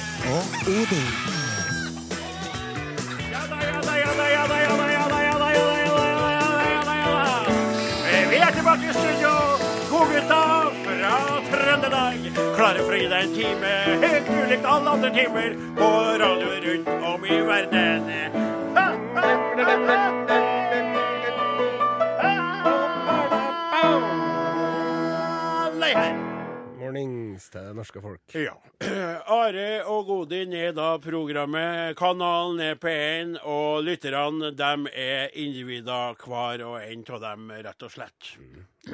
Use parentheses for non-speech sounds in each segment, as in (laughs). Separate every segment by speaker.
Speaker 1: UD.
Speaker 2: Ja da, ja da, ja da, ja da, ja da, ja da, ja da, ja da, ja da, ja da, ja da, ja da. Eh, Vi er tilbake i studio, godgutta fra Trøndelag. Klare for å gi deg en time helt ulikt alle andre timer på radio rundt om i verden. Ha, ha, ha, ha, ha. Alle her.
Speaker 3: Mornings til det norske folk.
Speaker 2: Ja. (clears throat) Are og Godin er da programmet, kanalen er P1, og lytterne dem er individer hver og en av dem, rett og slett.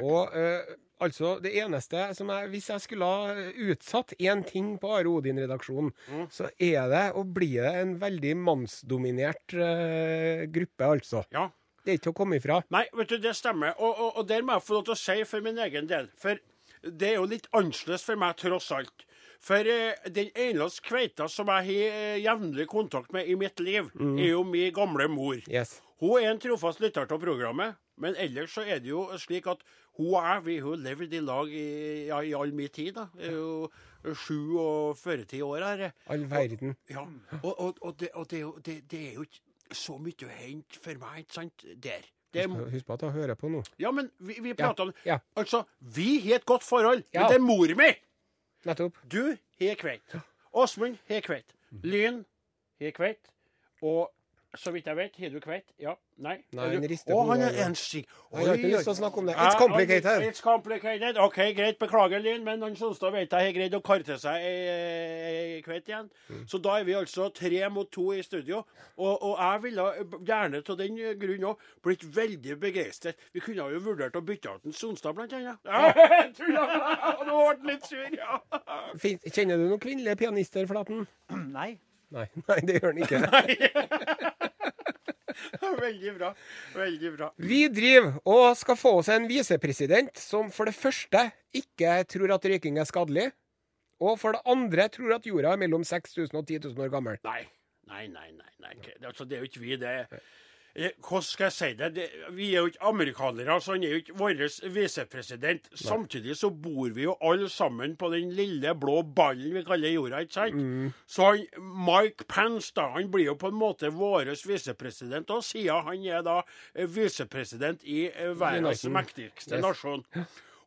Speaker 3: Og eh, altså, det eneste som jeg Hvis jeg skulle ha eh, utsatt én ting på Are Odin-redaksjonen,
Speaker 2: Mm.
Speaker 3: så er det og blir det en veldig mannsdominert eh, gruppe, altså.
Speaker 2: Ja.
Speaker 3: Det er ikke til å komme ifra.
Speaker 2: Nei, vet du, det stemmer. Og, og, og der må jeg få lov til å si for min egen del, for det er jo litt annerledes for meg, tross alt. For eh, den eneste kveita som jeg har eh, jevnlig kontakt med i mitt liv, er jo min gamle mor.
Speaker 3: Yes.
Speaker 2: Hun er en trofast lytter av programmet, men ellers så er det jo slik at hun og jeg vi har levd i lag i, ja, i all min tid. da. Det er jo sju og 40 år her.
Speaker 3: All verden.
Speaker 2: Ja. Og, og, og, det, og det, er jo- det, det er jo ikke så mye å hente for meg, ikke sant, der. Det, er-
Speaker 3: Husk på at jeg hører på nå.
Speaker 2: ja, men vi, vi prater om
Speaker 3: ja.
Speaker 2: Altså, vi har et godt forhold,
Speaker 3: Ja.
Speaker 2: men det er mor mi!
Speaker 3: Nettopp.
Speaker 2: Du har kveit. Åsmund har kveit. Lyn har kveit. Og så vidt jeg vet, har du kveit? Ja? Nei?
Speaker 3: Nei,
Speaker 2: Er du-
Speaker 3: han rister
Speaker 2: Å,
Speaker 3: på
Speaker 2: han er
Speaker 3: hodet, ja.
Speaker 2: ensig.
Speaker 3: Jeg har ikke
Speaker 2: Oi,
Speaker 3: lyst til å
Speaker 2: oi.
Speaker 3: snakke om det. It's complicated.
Speaker 2: Ah, oh, It's complicated. OK, greit. Beklager, Lyn, men han Sonstad vet jeg har greid å kare til seg ei, ei kveit igjen.
Speaker 3: Mm.
Speaker 2: Så da er vi altså tre mot to i studio. Og, og jeg ville gjerne av den grunn òg blitt veldig begeistret. Vi kunne jo vurdert å bytte ut en Sonstad, blant
Speaker 3: (laughs)
Speaker 2: annet. Ja, tulla. Nå ble han litt sur, ja. (laughs)
Speaker 3: Fin Kjenner du noen kvinnelige pianister, Flaten?
Speaker 4: Nei.
Speaker 3: Nei, (laughs) nei, det gjør han ikke.
Speaker 2: Veldig bra. Veldig bra.
Speaker 3: Vi driver og skal få oss en visepresident som for det første ikke tror at røyking er skadelig, og for det andre tror at jorda er mellom 6000 og 10 000 år gammel.
Speaker 2: Nei, nei, nei. nei, nei. ok. Det, altså, det er jo ikke vi, det. Eh, Hvordan skal jeg si det? det vi er jo ikke amerikanere, så han er jo ikke vår visepresident. Samtidig så bor vi jo alle sammen på den lille blå ballen vi kaller jorda, ikke sant? Så han, Mike Pence da, han blir jo på en måte vår visepresident, og siden han er da eh, visepresident i eh, verdens
Speaker 3: United.
Speaker 2: mektigste
Speaker 3: Yes.
Speaker 2: nasjon.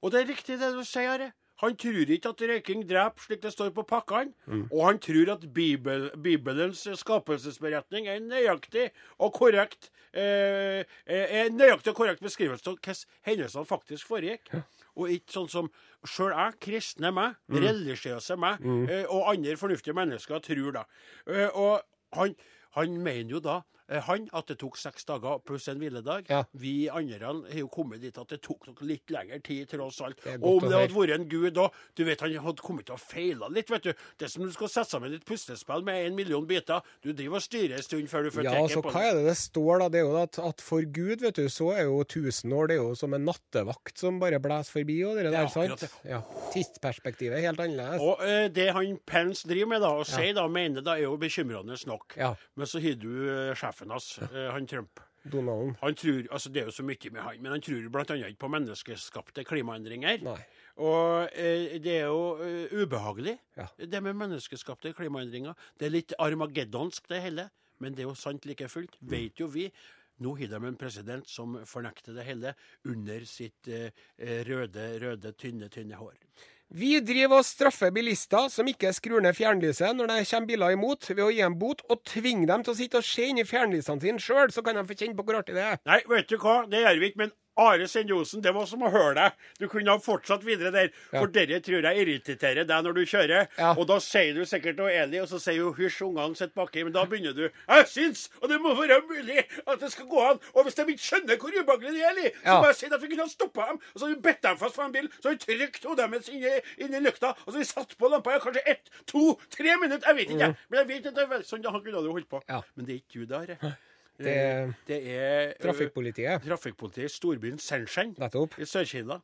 Speaker 2: Og det er riktig det du sier, Are. Han tror ikke at røyking dreper, slik det står på pakkene. Og han tror at Bibel, Bibelens skapelsesberetning er en nøyaktig og korrekt eh, eh, en nøyaktig og korrekt beskrivelse av hvordan hendelsene faktisk foregikk. Og ikke sånn som sjøl jeg, kristne meg, religiøse meg eh, og andre fornuftige mennesker tror, da. Eh, og han, han mener jo da eh, han at det tok seks dager pluss en hviledag.
Speaker 3: Ja.
Speaker 2: Vi andre har jo kommet dit at det tok nok litt lengre tid, tross alt.
Speaker 3: Det er
Speaker 2: Og
Speaker 3: godt
Speaker 2: om
Speaker 3: å
Speaker 2: det hadde vært en gud òg Du vet, han hadde kommet til å feile litt, vet du. Det er som om du skal sette sammen et puslespill med en million biter. Du driver og styrer en stund før du får
Speaker 3: Ja,
Speaker 2: trekket
Speaker 3: altså,
Speaker 2: på
Speaker 3: hva er det det står da? Det er jo at, at for Gud, vet du, så er jo 1000 år det er jo som en nattevakt som bare blåser forbi, og det
Speaker 2: er
Speaker 3: der,
Speaker 2: akkurat
Speaker 3: sant? Ja. Tidsperspektivet er helt annerledes.
Speaker 2: Og eh, det han Pence driver med da, og sier da, mener da, er jo bekymrende nok.
Speaker 3: Ja,
Speaker 2: Men så har du eh, sjefen hans, eh, han Trump.
Speaker 3: Donalden.
Speaker 2: Han tror, altså Det er jo så mye med han, men han tror bl.a. ikke på menneskeskapte klimaendringer.
Speaker 3: Nei.
Speaker 2: Og eh, det er jo eh, ubehagelig,
Speaker 3: Ja.
Speaker 2: det med menneskeskapte klimaendringer. Det er litt armageddonsk, det hele, men det er jo sant like fullt. Vet jo vi. Nå har de en president som fornekter det hele under sitt eh, eh, røde, røde, tynne, tynne hår.
Speaker 3: Vi driver og straffer bilister som ikke skrur ned fjernlyset når det kommer biler imot, ved å gi dem bot og tvinge dem til å sitte og se inn i fjernlysene sine sjøl, så kan de få kjenne på hvor artig det er.
Speaker 2: Nei, vet du hva, det gjør vi ikke, men Are Sendiosen, det var som å høre deg. Du kunne ha fortsatt videre der, for dette tror jeg irriterer deg når du kjører.
Speaker 3: Ja.
Speaker 2: Og da sier du sikkert noe Eli, og så sier hun 'hysj, ungene sitter baki', men da begynner du 'Jeg syns, og det må være mulig, at det skal gå an', og hvis de ikke skjønner hvor ubehagelig det er, Eli, så
Speaker 3: Ja.
Speaker 2: må jeg si at vi kunne ha stoppa dem, og så hadde vi bedt dem fast på en bil, så hadde vi trykt hodet deres inn, i- inn i lykta, og så hadde vi satt på lampa i kanskje ett, to, tre minutter, jeg vet ikke, men jeg vet at det er vel sånn han kunne ha det holdt på.
Speaker 3: Mm. Ja.
Speaker 2: Men det er ikke du, det, Are. Eh,
Speaker 3: Det-
Speaker 2: det er
Speaker 3: Trafikkpolitiet.
Speaker 2: trafikkpolitiet i storbyen Sensheng
Speaker 3: Nettopp. Mm.
Speaker 2: i Sør-Kina.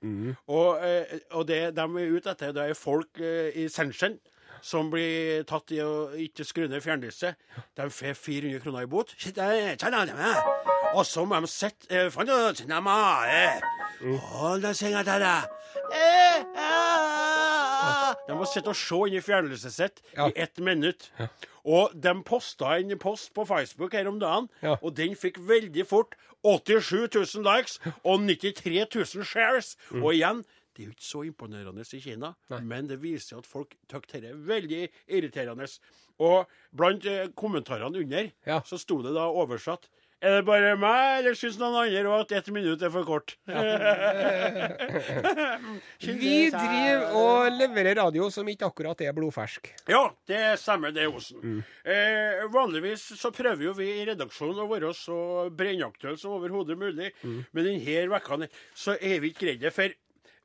Speaker 2: Og, eh, og det de er ute etter, det er folk eh, i Sensheng som blir tatt i å ikke skru ned fjernlyset. De får 400 kroner i bot. Shit, eh, tjena, tjena. Og så må de sitte eh, fan, eh, tjena, ma, eh.
Speaker 3: Mm.
Speaker 2: Hold deg senga til deg. Eh, ah, ah. De må sitte og se inn i fjernlyset sitt
Speaker 3: Ja.
Speaker 2: i ett minutt. Og de posta en post på Facebook her om dagen,
Speaker 3: Ja.
Speaker 2: og den fikk veldig fort 87 000 likes og 93 000 shares.
Speaker 3: Mm.
Speaker 2: Og igjen, det er jo ikke så imponerende i Kina, men det viser at folk syns dette er veldig irriterende. Og blant eh, kommentarene under
Speaker 3: Ja.
Speaker 2: så sto det da oversatt Er det bare meg, eller syns noen andre òg at ett minutt er for kort? (laughs)
Speaker 3: (laughs) Vi driver og leverer radio som ikke akkurat er blodfersk.
Speaker 2: Ja, det stemmer det, Osen. Eh, vanligvis så prøver jo vi i redaksjonen å være så brennaktuelle som overhodet mulig, men denne vekka så er vi ikke greid det. For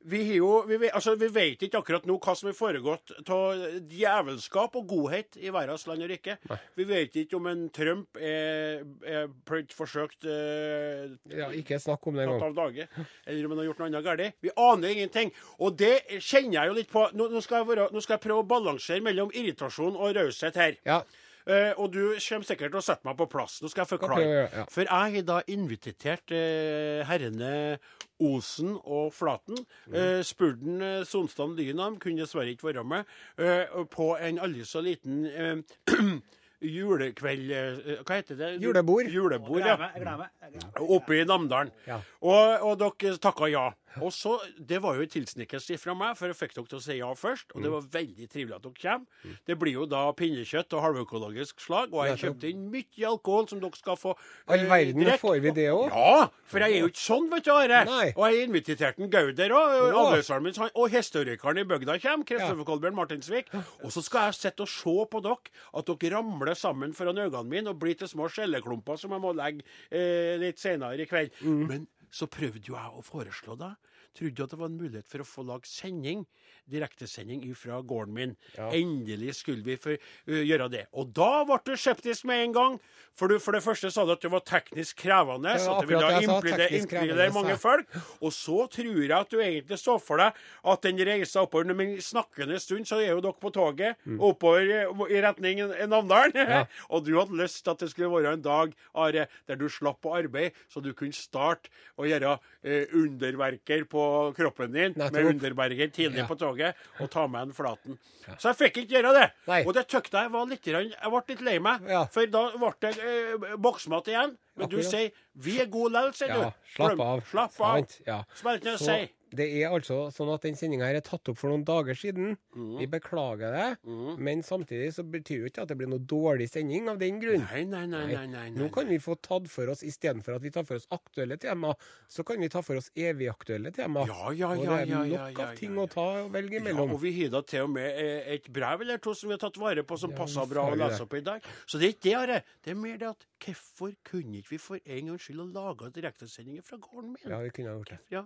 Speaker 2: vi, har jo, vi, ve- altså, vi vet ikke akkurat nå hva som er foregått av djevelskap og godhet i verdens land og rike. Vi vet ikke om en Trump er, er prøvd forsøkt eh,
Speaker 3: Ja, ikke snakk om det
Speaker 2: tatt
Speaker 3: engang.
Speaker 2: av dage, eller om han har gjort noe annet galt. Vi aner ingenting. Og det kjenner jeg jo litt på. Nå, nå, skal jeg være, nå skal jeg prøve å balansere mellom irritasjon og raushet her.
Speaker 3: Ja.
Speaker 2: Eh, og du kommer sikkert til å sette meg på plass. Nå skal jeg forklare.
Speaker 3: Ok, ja, ja.
Speaker 2: For jeg har da invitert eh, herrene Osen og Flaten.
Speaker 3: Mhm.
Speaker 2: Eh, spurt den, eh, Sonstad Lyn om, kunne dessverre ikke være med, eh, på en aldri så liten eh, (clears throat) julekveld eh, Hva heter det?
Speaker 3: Julebord.
Speaker 2: Julebord, ja.
Speaker 1: Gleder meg. Jeg gleder meg. Jeg gleder meg.
Speaker 2: Oppe i Namdalen.
Speaker 3: Ja.
Speaker 2: Og, og dere takka ja. Og så, Det var jo en tilsnikkelse fra meg, for jeg fikk dere til å si ja først.
Speaker 3: Mm.
Speaker 2: Og det var veldig trivelig at dere kommer. Det blir jo da pinnekjøtt og halvøkologisk slag, og jeg kjøpte inn mye alkohol som dere skal få eh,
Speaker 3: All verden,
Speaker 2: drikke.
Speaker 3: får vi det òg?
Speaker 2: Ja, for jeg er jo ikke sånn, vet du, Are.
Speaker 3: Nei.
Speaker 2: Og jeg inviterte en Gauder òg, og adelsmannen min, han- og historikeren i bygda kommer, Kristoffer Kolbjørn Martinsvik. Og så skal jeg sitte og se på dere, at dere ramler sammen foran øynene mine og blir til små skjelleklumper som jeg må legge eh, litt senere i kveld.
Speaker 3: Mm.
Speaker 2: Men så prøvde jo jeg å foreslå deg. Trodde at det var en mulighet for å få lage sending, direktesending fra gården min. Endelig skulle vi for, ø, gjøre det. Og da ble du skeptisk med en gang. For du for det første sa du at du var teknisk krevende,
Speaker 3: Det
Speaker 2: så
Speaker 3: var
Speaker 2: at det ville
Speaker 3: akkurat det jeg sa,
Speaker 2: implidere
Speaker 3: teknisk
Speaker 2: implidere
Speaker 3: krevende,
Speaker 2: mange
Speaker 3: sa
Speaker 2: folk. Og så tror jeg at du egentlig så for deg at den reisa oppover Men i snakkende stund så er jo dere på toget
Speaker 3: Mm.
Speaker 2: oppover eh, i retning Namdalen. (laughs) og du hadde lyst til at det skulle være en dag, Are, der du slapp å arbeide, så du kunne starte å gjøre eh, underverker på kroppen din med
Speaker 3: Nettopp.
Speaker 2: underberger tidlig
Speaker 3: Ja.
Speaker 2: på toget og ta med en Flaten. Så jeg fikk ikke gjøre det.
Speaker 3: Nei.
Speaker 2: Og det tøkte jeg var litt grann- Jeg ble litt lei meg,
Speaker 3: Ja.
Speaker 2: for da ble det eh, boksmat igjen. Men du
Speaker 3: Akkurat.
Speaker 2: sier 'vi er gode likevel', sier
Speaker 3: Ja,
Speaker 2: du.
Speaker 3: slapp
Speaker 2: Glem-
Speaker 3: av.
Speaker 2: Slapp av.
Speaker 3: Sant, Ja.
Speaker 2: Som jeg ikke kan
Speaker 3: Så
Speaker 2: si.
Speaker 3: det er altså sånn at den sendinga her er tatt opp for noen dager siden.
Speaker 2: Mm.
Speaker 3: Vi beklager det, men samtidig så betyr jo ikke at det blir noe dårlig sending av den grunn.
Speaker 2: Nei, nei, nei, nei. nei, nei.
Speaker 3: Nå kan vi få tatt for oss, istedenfor at vi tar for oss aktuelle tema, så kan vi ta for oss evigaktuelle tema.
Speaker 2: Ja, ja,
Speaker 3: og
Speaker 2: ja,
Speaker 3: det er
Speaker 2: ja,
Speaker 3: nok
Speaker 2: ja, ja,
Speaker 3: av ting
Speaker 2: ja,
Speaker 3: å ta og velge
Speaker 2: Ja,
Speaker 3: mellom.
Speaker 2: og vi har da til og med eh, et brev eller to som vi har tatt vare på, som
Speaker 3: Ja,
Speaker 2: passer
Speaker 3: vi
Speaker 2: bra å
Speaker 3: har
Speaker 2: lese
Speaker 3: det.
Speaker 2: opp i dag. Så det er ikke det, Are. Det er mer det at hvorfor kunne ikke vi for en gangs skyld ha laga direktesendinger fra gården min?
Speaker 3: Ja, vi kunne ha gjort det.
Speaker 2: Ja.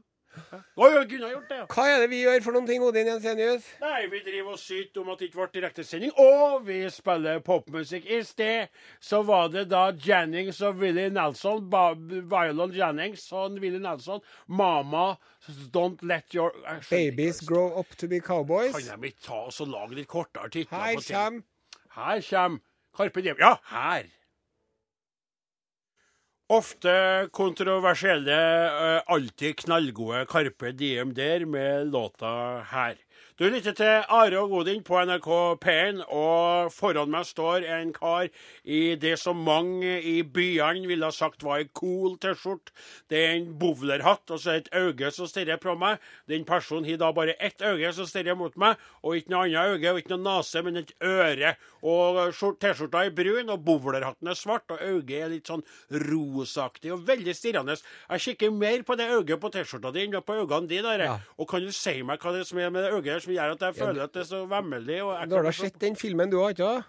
Speaker 2: ja. Å, ja, kunne ha gjort det, ja.
Speaker 3: Hva er det vi gjør for noen ting, Odin Jensenius?
Speaker 2: Nei, vi driver og syter om at det ikke ble direktesending, og vi spiller popmusikk. I sted så var det da Jennings og Willie Nelson, ba- Violon Jennings og Willie Nelson, 'Mama Don't Let Your Jeg skjønner ikke.
Speaker 3: Babies grow up to be
Speaker 2: Kan
Speaker 3: cowboys.
Speaker 2: de ikke ta oss og lage litt kortere titler?
Speaker 3: Her
Speaker 2: på ting?
Speaker 3: kommer
Speaker 2: Her kommer Karpe Diem. Ja, her. Ofte kontroversielle, eh, alltid knallgode Karpe Diem der med låta her. Du lytter til Are og Godin på NRK P1, og foran meg står en kar i det som mange i byene ville ha sagt var ei cool T-skjorte. Det er en bowlerhatt og så et øye som stirrer på meg. Den personen har da bare ett øye som stirrer mot meg, og ikke noe annet øye og ikke noe nese, men et øre. Og skjort- T-skjorta er brun, og bowlerhatten er svart, og øyet er litt sånn rosaktig og veldig stirrende. Jeg kikker mer på det øyet på T-skjorta di enn på øynene dine. Are.
Speaker 3: Ja.
Speaker 2: Og kan du si meg hva det er som er med det øyet her som gjør at jeg føler at det er så vemmelig? og jeg
Speaker 3: Du har da
Speaker 2: kan-
Speaker 3: sett den filmen du har, ikke sant?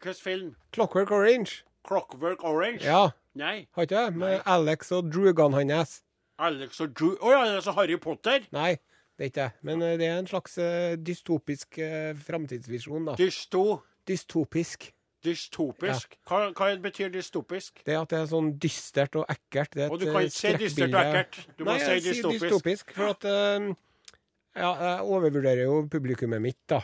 Speaker 2: Hvilken film?
Speaker 3: Clockwork Orange.
Speaker 2: 'Clockwork Orange'?
Speaker 3: Ja,
Speaker 2: Nei.
Speaker 3: har ikke det? Med Alex og drugene hans.
Speaker 2: Alex og Drew Å ja, det er så Harry Potter?
Speaker 3: Nei, det er ikke det. Men eh, det er en slags eh, dystopisk eh, framtidsvisjon, da.
Speaker 2: Dysto.
Speaker 3: Dystopisk.
Speaker 2: Dystopisk. Hva, hva betyr dystopisk?
Speaker 3: Det at det er sånn dystert og ekkelt. Det er et,
Speaker 2: Og du kan
Speaker 3: eh,
Speaker 2: ikke si dystert og
Speaker 3: skrekkbilde.
Speaker 2: ekkelt. Du må
Speaker 3: Nei, jeg
Speaker 2: si
Speaker 3: sier
Speaker 2: dystopisk.
Speaker 3: dystopisk. For at eh, Ja, jeg overvurderer jo publikummet mitt, da.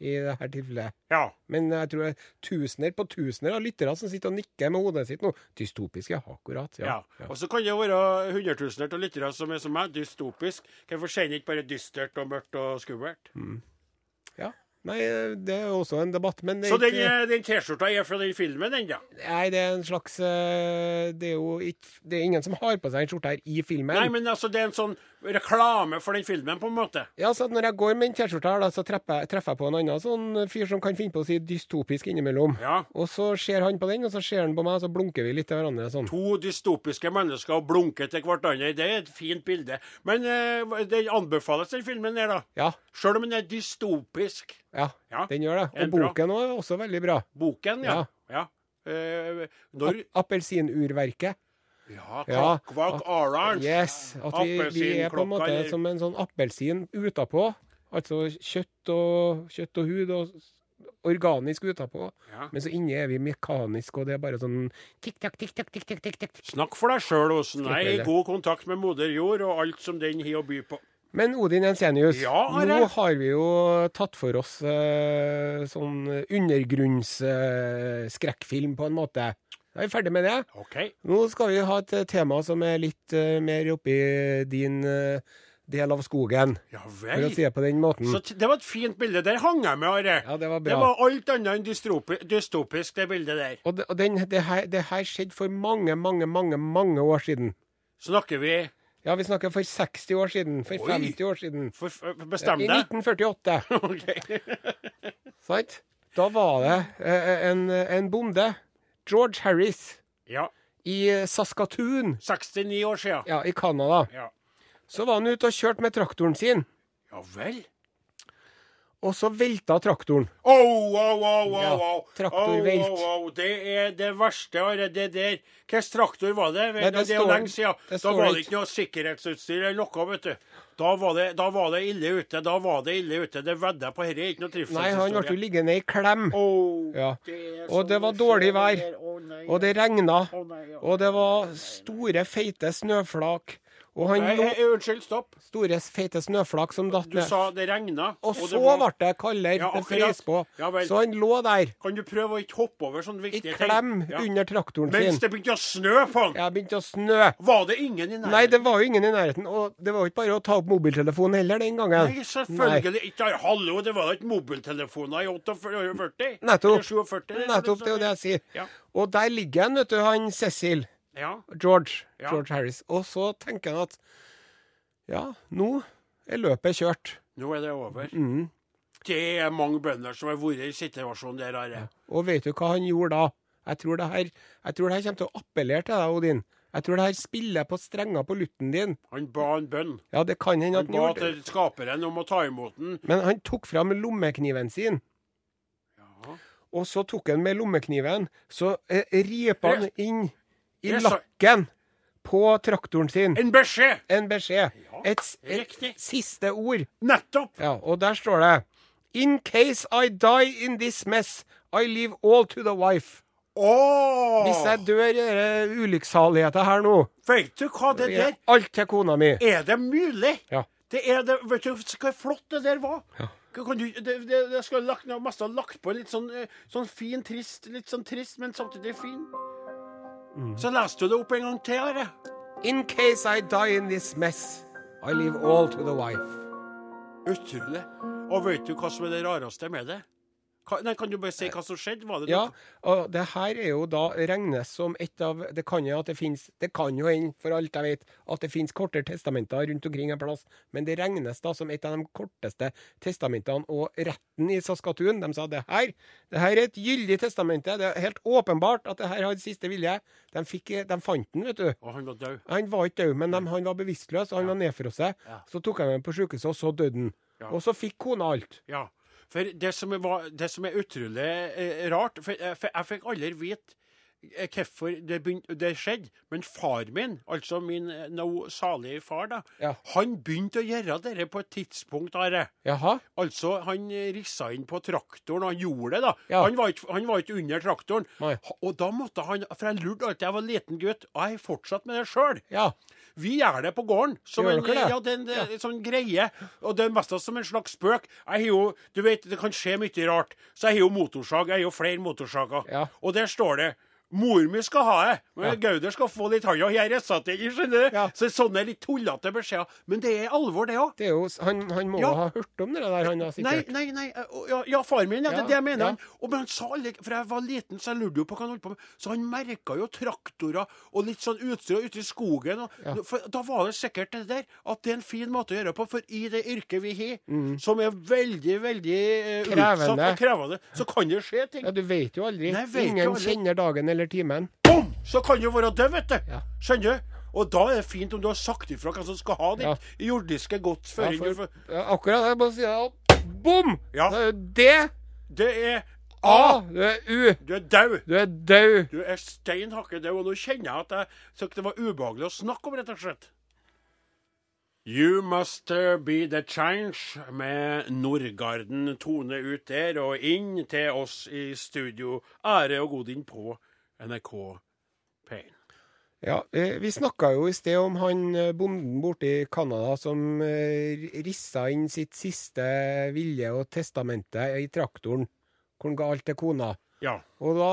Speaker 3: I dette tilfellet.
Speaker 2: Ja.
Speaker 3: Men jeg tror det er tusener på tusener av lyttere som sitter og nikker med hodet sitt nå. Dystopisk, ja. Akkurat.
Speaker 2: ja.
Speaker 3: Ja. ja.
Speaker 2: Og så kan det jo være hundretusener av lyttere som er
Speaker 3: Mm.
Speaker 2: som meg, dystopisk. Hvorfor sier den ikke bare dystert og mørkt og skummelt?
Speaker 3: Ja. Nei, det er jo også en debatt, men det er
Speaker 2: Så den,
Speaker 3: ikke-
Speaker 2: eh, den T-skjorta er fra den filmen, den, da?
Speaker 3: Nei, det er en slags eh, Det er jo ikke Det er ingen som har på seg en skjorte her i filmen.
Speaker 2: Nei, men altså, det er en sånn reklame for den filmen, på en måte.
Speaker 3: Ja, så at Når jeg går med den T-skjorta, her da, så treffer jeg, treffer jeg på en annen sånn fyr som kan finne på å si dystopisk innimellom.
Speaker 2: Ja.
Speaker 3: Og så ser han på den, og så ser han på meg, og så blunker vi litt til hverandre sånn.
Speaker 2: To dystopiske mennesker og blunker til hverandre. Det er et fint bilde. Men eh, den anbefales, den filmen her, da.
Speaker 3: Ja,
Speaker 2: Sjøl om den er dystopisk.
Speaker 3: ja,
Speaker 2: Ja,
Speaker 3: den gjør det.
Speaker 2: en
Speaker 3: Og
Speaker 2: bra.
Speaker 3: boken også er også veldig bra.
Speaker 2: Boken, ja. ja. Eh, når
Speaker 3: Appelsinurverket.
Speaker 2: Ja,
Speaker 3: Ja.
Speaker 2: Clockwork Orange.
Speaker 3: Yes. At vi, vi er på en måte
Speaker 2: Appelsinklokka, eller-
Speaker 3: som en sånn appelsin utapå. Altså kjøtt og, kjøtt og hud og s- organisk utapå.
Speaker 2: Ja.
Speaker 3: Men så inne er vi mekanisk, og det er bare sånn tikk-takk, tikk-takk, tikk-takk. tikk-takk.
Speaker 2: Snakk for deg sjøl, Osen. Jeg er i
Speaker 3: Skrekkelig.
Speaker 2: god kontakt med moder jord og alt som den har å by på.
Speaker 3: Men Odin Jensenius,
Speaker 2: Ja, Are.
Speaker 3: nå har vi jo tatt for oss eh, sånn undergrunnsskrekkfilm, på en måte. Da er vi ferdig med det.
Speaker 2: OK.
Speaker 3: Nå skal vi ha et eh, tema som er litt eh, mer oppi din eh, del av skogen,
Speaker 2: Ja
Speaker 3: for
Speaker 2: vel.
Speaker 3: å si det på den måten.
Speaker 2: Så t- det var et fint bilde. Der hang jeg med, Are.
Speaker 3: Ja, det var bra.
Speaker 2: Det var alt annet enn dystropi- dystopisk, det bildet der.
Speaker 3: Og, det, og den, det, her, det her skjedde for mange, mange, mange mange år siden.
Speaker 2: Snakker vi
Speaker 3: Ja, vi snakker for 60 år siden. For
Speaker 2: Oi.
Speaker 3: 50 år siden.
Speaker 2: for, for Bestem
Speaker 3: I
Speaker 2: deg.
Speaker 3: 1948.
Speaker 2: (laughs) Ok.
Speaker 3: Sant? Da var det eh, en, en bonde, George Harris,
Speaker 2: Ja.
Speaker 3: i eh, Saskatoon,
Speaker 2: 69 år sia.
Speaker 3: ja, i Canada.
Speaker 2: Ja.
Speaker 3: Så var han ute og kjørte med traktoren sin,
Speaker 2: ja vel.
Speaker 3: og så velta traktoren.
Speaker 2: Au, au, au,
Speaker 3: Ja,
Speaker 2: au. au.
Speaker 3: traktorvelt.
Speaker 2: Au, au, au. Det er det verste. Are. Det der Hvilken traktor var det? Vet
Speaker 3: Nei,
Speaker 2: du,
Speaker 3: det
Speaker 2: det, er jo
Speaker 3: står-
Speaker 2: lenge siden.
Speaker 3: det
Speaker 2: Da
Speaker 3: står
Speaker 2: var
Speaker 3: ikke.
Speaker 2: det ikke noe sikkerhetsutstyr eller noe, vet du. Da var det, da var det ille ute. Da var det ille ute. Det vedder jeg på. Dette er ikke noe
Speaker 3: Nei,
Speaker 2: trivselshistorie.
Speaker 3: han ble jo liggende i klem.
Speaker 2: Sånn Å,
Speaker 3: Ja.
Speaker 2: er
Speaker 3: Og
Speaker 2: så
Speaker 3: det var
Speaker 2: mye
Speaker 3: dårlig
Speaker 2: skjer
Speaker 3: vær.
Speaker 2: der. Å, nei,
Speaker 3: Og det regna.
Speaker 2: å, nei, ja.
Speaker 3: Og det var store, feite snøflak. Og han
Speaker 2: Nei,
Speaker 3: lå
Speaker 2: eh, Unnskyld, stopp.
Speaker 3: store, feite snøflak som datt
Speaker 2: Du
Speaker 3: ned.
Speaker 2: sa det regna.
Speaker 3: Og så
Speaker 2: var-
Speaker 3: ble det kaldere.
Speaker 2: Ja,
Speaker 3: det
Speaker 2: akkurat.
Speaker 3: frøs på.
Speaker 2: Ja vel.
Speaker 3: Så han lå der,
Speaker 2: Kan du prøve å ikke hoppe over sånne
Speaker 3: i
Speaker 2: viktige ting?
Speaker 3: klem
Speaker 2: Ja.
Speaker 3: under traktoren
Speaker 2: Mens
Speaker 3: sin.
Speaker 2: det begynte å snø på han!
Speaker 3: Jeg begynte å snø.
Speaker 2: Var det ingen i nærheten?
Speaker 3: Nei, det var jo ingen i nærheten. Og det var jo ikke bare å ta opp mobiltelefonen heller den gangen.
Speaker 2: Nei, selvfølgelig ikke. Nei, Hallo, det var da ikke mobiltelefoner i 48?
Speaker 3: Nettopp.
Speaker 2: Eller 47? eller sånn.
Speaker 3: Nettopp, det er jo det jeg sier.
Speaker 2: Ja.
Speaker 3: Og der ligger han, vet du, han Cecil.
Speaker 2: Ja.
Speaker 3: George.
Speaker 2: Ja.
Speaker 3: George Harris. Og så tenker han at ja, nå er løpet kjørt.
Speaker 2: Nå er det over.
Speaker 3: Mm.
Speaker 2: Det er mange bønder som har vært i situasjonen der, Are.
Speaker 3: Og vet du hva han gjorde da? Jeg tror det her, jeg tror det her kommer til å appellere til deg, Odin. Jeg tror det her spiller på strenger på lutten din.
Speaker 2: Han ba en bønn.
Speaker 3: Ja, det kan hende
Speaker 2: Han
Speaker 3: at han
Speaker 2: ba
Speaker 3: gjorde det.
Speaker 2: til skaperen om å ta imot den.
Speaker 3: Men han tok fram lommekniven sin.
Speaker 2: Ja.
Speaker 3: Og så tok han med lommekniven, så eh, ripa han
Speaker 2: Det-
Speaker 3: inn i
Speaker 2: det sa-
Speaker 3: lakken på traktoren sin.
Speaker 2: En beskjed!
Speaker 3: En beskjed.
Speaker 2: Ja,
Speaker 3: Et, s- et
Speaker 2: riktig.
Speaker 3: siste ord.
Speaker 2: Nettopp!
Speaker 3: Ja, og der står det In case I die in this mess, I leave all to the wife.
Speaker 2: Åh!
Speaker 3: Hvis jeg dør i denne ulykkssaligheta her nå,
Speaker 2: Vet du hva det
Speaker 3: gir
Speaker 2: der
Speaker 3: jeg alt til kona mi.
Speaker 2: Er det mulig?
Speaker 3: Ja.
Speaker 2: Det er det, vet du hvor flott det der var?
Speaker 3: Ja.
Speaker 2: Hva Kan du, det, det, det skulle lagt, ned- mest ha lagt på litt sånn, eh, sånn fin, trist, litt sånn trist, men samtidig fin.
Speaker 3: Mm.
Speaker 2: Så leste du det opp en gang til, Are.
Speaker 3: In case I die in this mess, I leave all to the wife.
Speaker 2: Utrolig. Og vet du hva som er det rareste med det? Hva, nei, Kan du bare si hva som skjedde? Var det
Speaker 3: Ja,
Speaker 2: noe?
Speaker 3: og det her er jo da regnes som et av Det kan jo at det finnes Det kan jo hende, for alt jeg vet, at det finnes kortere testamenter rundt omkring en plass, men det regnes da som et av de korteste testamentene. Og retten i Saskatoon de sa det her det her er et gyldig testamente. Det er helt åpenbart at det her har siste vilje. De, fikk, de fant den, vet du.
Speaker 2: Og han var død.
Speaker 3: Han var ikke død, men de, han var bevisstløs, og han var nedfrosset.
Speaker 2: Ja.
Speaker 3: Så tok han ham på sykehuset, og så døde han.
Speaker 2: Ja.
Speaker 3: Og så fikk kona alt.
Speaker 2: Ja. For det som, var, det som er utrolig eh, rart for, jeg- for Jeg fikk aldri vite eh, hvorfor det, begynte, det skjedde, men far min, altså min eh, nå salige far, da,
Speaker 3: Ja.
Speaker 2: han begynte å gjøre dette på et tidspunkt. Are.
Speaker 3: Jaha?
Speaker 2: Altså, Han eh, rissa inn på traktoren, og han gjorde det. da.
Speaker 3: Ja.
Speaker 2: Han, var ikke, han var ikke under traktoren.
Speaker 3: Nei.
Speaker 2: Ha- Og da måtte han, For jeg lurte alltid jeg var liten gutt, og jeg har fortsatt med det sjøl.
Speaker 3: Ja.
Speaker 2: Vi gjør det på gården. Som
Speaker 3: Gjør
Speaker 2: en,
Speaker 3: dere det?
Speaker 2: ja, det er en eh, sånn greie. Og det er mest av som en slags spøk. Jeg har jo, du vet, Det kan skje mye rart. Så jeg har jo motorsag. Jeg har jo flere motorsager.
Speaker 3: Ja.
Speaker 2: Og der står det Mor mi skal ha det, men Gauder skal få litt handa. Jeg ressa til, skjønner du.
Speaker 3: Ja.
Speaker 2: Så sånne litt tullete beskjeder. Men det er alvor, det òg.
Speaker 3: Det er jo, s- han, han må jo
Speaker 2: Ja.
Speaker 3: ha hørt om det der, han har
Speaker 2: Nei,
Speaker 3: sikkert.
Speaker 2: nei, nei. eh, å, Ja, ja far min, ja, det
Speaker 3: Ja,
Speaker 2: er det jeg mener.
Speaker 3: ja.
Speaker 2: han. Og men han sa aldri, For jeg var liten, så jeg lurte jo på hva han holdt på med. Så han merka jo traktorer og litt sånn utstyr ute i skogen. Og, for, da var det sikkert det der at det er en fin måte å gjøre på. For i det yrket vi har, som er veldig, veldig eh, utsatt
Speaker 3: Mhm. Krevende.
Speaker 2: og krevende, så kan det skje ting.
Speaker 3: Ja, du vet jo aldri.
Speaker 2: Nei, jeg vet jo
Speaker 3: Ingen
Speaker 2: aldri.
Speaker 3: kjenner dagen eller timen.
Speaker 2: Bom! Så kan du være død, vet du.
Speaker 3: Ja.
Speaker 2: Skjønner du? Og da er det fint om du har sagt ifra hvem som skal ha
Speaker 3: Ja.
Speaker 2: ditt jordiske gods
Speaker 3: Ja,
Speaker 2: før
Speaker 3: for,
Speaker 2: du får-
Speaker 3: ja, akkurat det. Bare si det. Bom!
Speaker 2: Ja.
Speaker 3: Det er jo det.
Speaker 2: Det er
Speaker 3: A!
Speaker 2: A!
Speaker 3: Du er U.
Speaker 2: Du er daud.
Speaker 3: Du er død.
Speaker 2: Du er stein hakke daud, og nå kjenner jeg at jeg syntes det var ubehagelig å snakke om, rett og slett. You must uh, be the change med Nordgarden tone ut der og inn til oss i studio. Ære og godin på NRK P1.
Speaker 3: Ja, eh, Vi snakka jo i sted om han eh, bonden borte i Canada som eh, r- rissa inn sitt siste vilje og testamente i traktoren, hvor han ga alt til kona.
Speaker 2: Ja.
Speaker 3: Og da,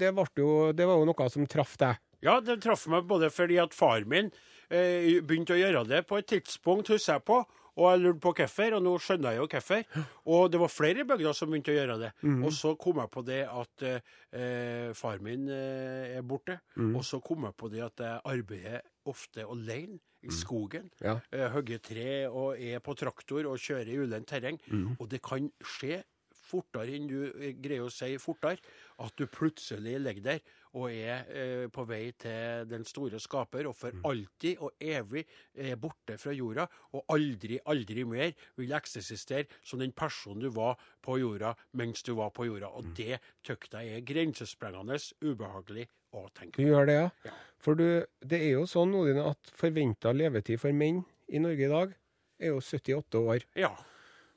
Speaker 3: det, ble jo, det var jo noe som traff deg.
Speaker 2: Ja, det traff meg både fordi at far min eh, begynte å gjøre det på et tidspunkt, husker jeg på. Og jeg lurte på hvorfor, og nå skjønner jeg jo hvorfor. Og det var flere i bygda som begynte å gjøre det. Og så kom jeg på det at eh, eh, far min eh, er borte. Og så kom jeg på det at jeg arbeider ofte alene i skogen.
Speaker 3: Ja.
Speaker 2: Eh, Hogger tre og er på traktor og kjører i ulendt terreng. Og det kan skje fortere enn du eh, greier å si fortere, at du plutselig ligger der og er eh, på vei til den store skaper, og
Speaker 3: Mm.
Speaker 2: for alltid og evig er borte fra jorda, og aldri, aldri mer vil eksistere som den personen du var på jorda mens du var på jorda.
Speaker 3: Mm.
Speaker 2: Og det tykt jeg er grensesprengende ubehagelig å tenke
Speaker 3: Du
Speaker 2: på.
Speaker 3: gjør det, ja? For du, det er jo sånn Odin, at forventa levetid for menn i Norge i dag er jo 78 år.
Speaker 2: Ja.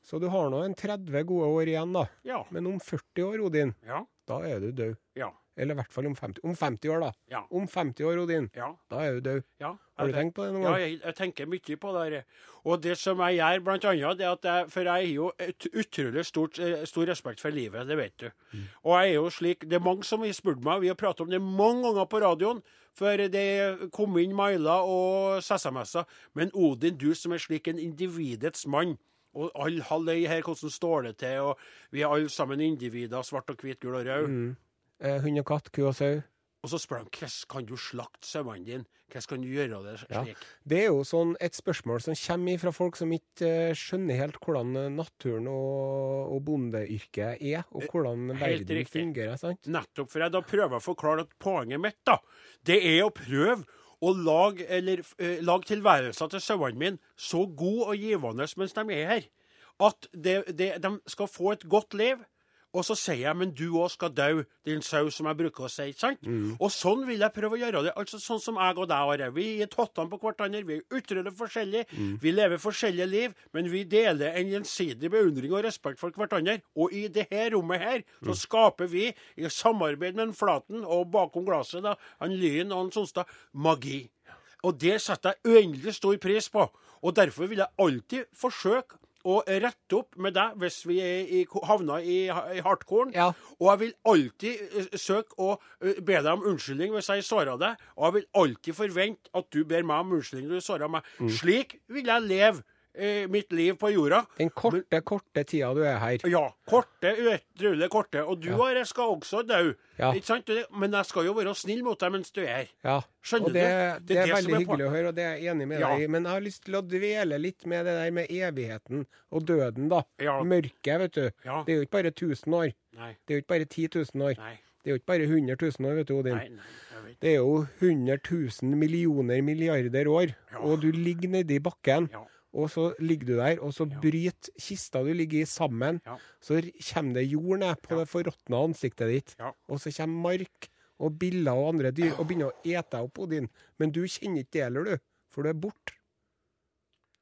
Speaker 3: Så du har nå en 30 gode år igjen, da.
Speaker 2: Ja.
Speaker 3: Men om 40 år, Odin,
Speaker 2: Ja.
Speaker 3: da er du død.
Speaker 2: Ja.
Speaker 3: Eller i hvert fall om 50, om 50 år, da.
Speaker 2: Ja.
Speaker 3: Om 50 år, Odin,
Speaker 2: Ja.
Speaker 3: da er du død.
Speaker 2: ja.
Speaker 3: Har
Speaker 2: Jeg
Speaker 3: du
Speaker 2: vet-
Speaker 3: tenkt på det noen
Speaker 2: Ja,
Speaker 3: gang?
Speaker 2: jeg, jeg tenker mye på det. her. Og det som jeg gjør, blant annet, det er at jeg, For jeg har jo et utrolig stort, eh, stor respekt for livet, det vet du.
Speaker 3: Mm.
Speaker 2: Og jeg er jo slik Det er mange som har spurt meg, vi har pratet om det mange ganger på radioen, for det kom inn mailer og SMS-er. Men Odin, du som er slik en individets mann. Og all halløy her, hvordan står det til? Og vi er alle sammen individer, svart og hvit, gul og rød.
Speaker 3: Eh, hund og katt, ku og sau.
Speaker 2: Og så spør han hvordan kan du slakte sauene dine? Hvordan kan du gjøre det slik?
Speaker 3: Ja. Det er jo sånn et spørsmål som kommer fra folk som ikke eh, skjønner helt hvordan eh, naturen og, og bondeyrket er, og hvordan
Speaker 2: Eh, helt
Speaker 3: verden
Speaker 2: riktig.
Speaker 3: fungerer. sant?
Speaker 2: Nettopp, for jeg da prøver jeg å forklare at poenget mitt da, det er å prøve å lage, eller, eh, lage tilværelsen til sauene mine så god og givende mens de er her, at det, det, de skal få et godt liv. Og så sier jeg, men du òg skal dø, din sau, som jeg bruker å si. ikke sant? Og sånn vil jeg prøve å gjøre det. altså Sånn som jeg og deg har det. Vi er tottene på hverandre, vi er utrolig forskjellige. Vi lever forskjellige liv, men vi deler en gjensidig beundring og respekt for hverandre. Og i det her rommet her, så skaper vi, i samarbeid med en Flaten og bakom glasset, da, han Lyen og han Sonstad, magi. Og det setter jeg uendelig stor pris på. Og derfor vil jeg alltid forsøke å rette opp med deg hvis vi er i, havner i, i hardcore.
Speaker 3: Ja.
Speaker 2: Og jeg vil alltid eh, søke å eh, be deg om unnskyldning hvis jeg såra deg. Og jeg vil alltid forvente at du ber meg om unnskyldning når du såra meg.
Speaker 3: Mm.
Speaker 2: Slik vil jeg leve eh, mitt liv på jorda.
Speaker 3: Den korte, korte tida du er her.
Speaker 2: Ja. Korte, utrolig korte. Og du Are, skal også dø.
Speaker 3: Ja.
Speaker 2: Ikke sant? Det- Men jeg skal jo være snill mot deg mens du er her.
Speaker 3: Ja.
Speaker 2: Skjønner
Speaker 3: og det,
Speaker 2: du?
Speaker 3: Det, er
Speaker 2: som
Speaker 3: veldig
Speaker 2: er poen-
Speaker 3: hyggelig å høre, og det er jeg enig med
Speaker 2: Ja.
Speaker 3: deg i. Men jeg har lyst til å dvele litt med det der med evigheten og døden, da.
Speaker 2: Ja.
Speaker 3: Mørket, vet du.
Speaker 2: Ja.
Speaker 3: Det er jo ikke bare 1000 år.
Speaker 2: Nei.
Speaker 3: Det er jo ikke bare 10 000 år.
Speaker 2: Nei.
Speaker 3: Det er jo ikke bare 100 000 år, vet du, Odin.
Speaker 2: Nei, nei, jeg vet.
Speaker 3: Det er jo 100 000 millioner milliarder år,
Speaker 2: Ja.
Speaker 3: og du ligger nedi bakken.
Speaker 2: Ja.
Speaker 3: Og så ligger du der, og så bryter kista du ligger i, sammen.
Speaker 2: Ja.
Speaker 3: Så r- kommer det jord ned på det forråtna ansiktet ditt.
Speaker 2: Ja.
Speaker 3: Og så kommer mark og biller og andre dyr og begynner å ete deg opp, Odin. Men du kjenner ikke det heller, du. For du er borte.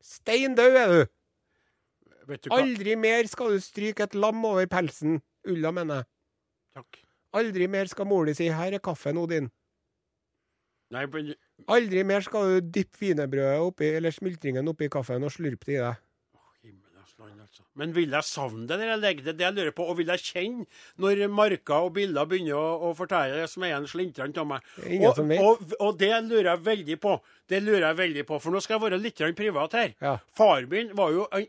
Speaker 3: Stein død er du!
Speaker 2: Vet du hva?
Speaker 3: Aldri mer skal du stryke et lam over pelsen. Ulla, mener jeg.
Speaker 2: Takk.
Speaker 3: Aldri mer skal mor di si 'her er kaffen, Odin'.
Speaker 2: Nei, men
Speaker 3: Aldri mer skal du dyppe wienerbrødet oppi, eller smultringen oppi kaffen og slurpe det i deg.
Speaker 2: Å, himmelen, altså. land, altså. Men vil jeg savne det når jeg legger det? Det jeg lurer på. Og vil jeg kjenne når marker og biller begynner å, å fortelle det som er en slintrende av meg?
Speaker 3: er ingen
Speaker 2: og,
Speaker 3: som vet.
Speaker 2: og, og det lurer jeg veldig på. Det lurer jeg veldig på. For nå skal jeg være litt grann privat her.
Speaker 3: Ja.
Speaker 2: Faren min var jo han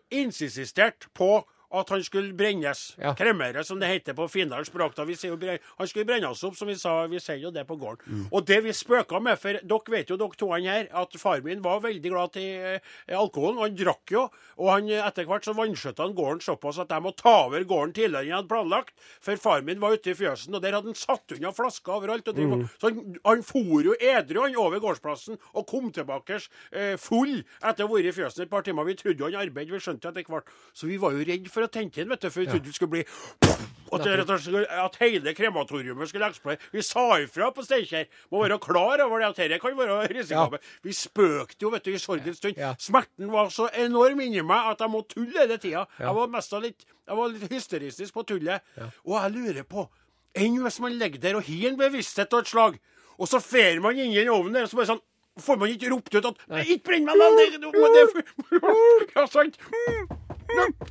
Speaker 2: insistert på at han skulle brennes.
Speaker 3: Ja.
Speaker 2: Kremere, som det heter på Findal språk. Da. Vi sier jo bre- han skulle brennes opp, som vi sa. Vi sier jo det på gården. Og det vi spøka med, for dere vet jo, dere to her, at far min var veldig glad til eh, alkoholen. og Han drakk jo. Og han, eh, etter hvert så vanskjøtta han gården såpass at jeg må ta over gården tidligere enn jeg hadde planlagt. For far min var ute i fjøsen, og der hadde han satt unna flasker overalt. Og driv- Så han, han for jo edru han over gårdsplassen og kom tilbake eh, full etter å ha vært i fjøsen et par timer. Vi trodde jo han arbeidet, vi skjønte etter hvert. Så vi var jo redd for å tente den, vet du, for vi trodde det skulle bli at, det rett og slett skulle- at hele krematoriumet skulle eksplodere. Vi sa ifra på Steinkjer. Må være klar over det, at dette kan være risikabelt. Vi spøkte jo, vet du, i sorgens stund.
Speaker 3: Ja.
Speaker 2: Smerten var så enorm inni meg at jeg måtte tulle hele tida. Jeg var mest av litt jeg var litt hysteristisk på tullet. Og jeg lurer på Enn hvis man ligger der og har en bevissthet og et slag, og så fer man inn i den ovnen der, og så bare sånn Får man ikke ropt ut at Nei, ikke brenn meg, da! Det, det, det,
Speaker 3: (laughs)
Speaker 2: ja, sant?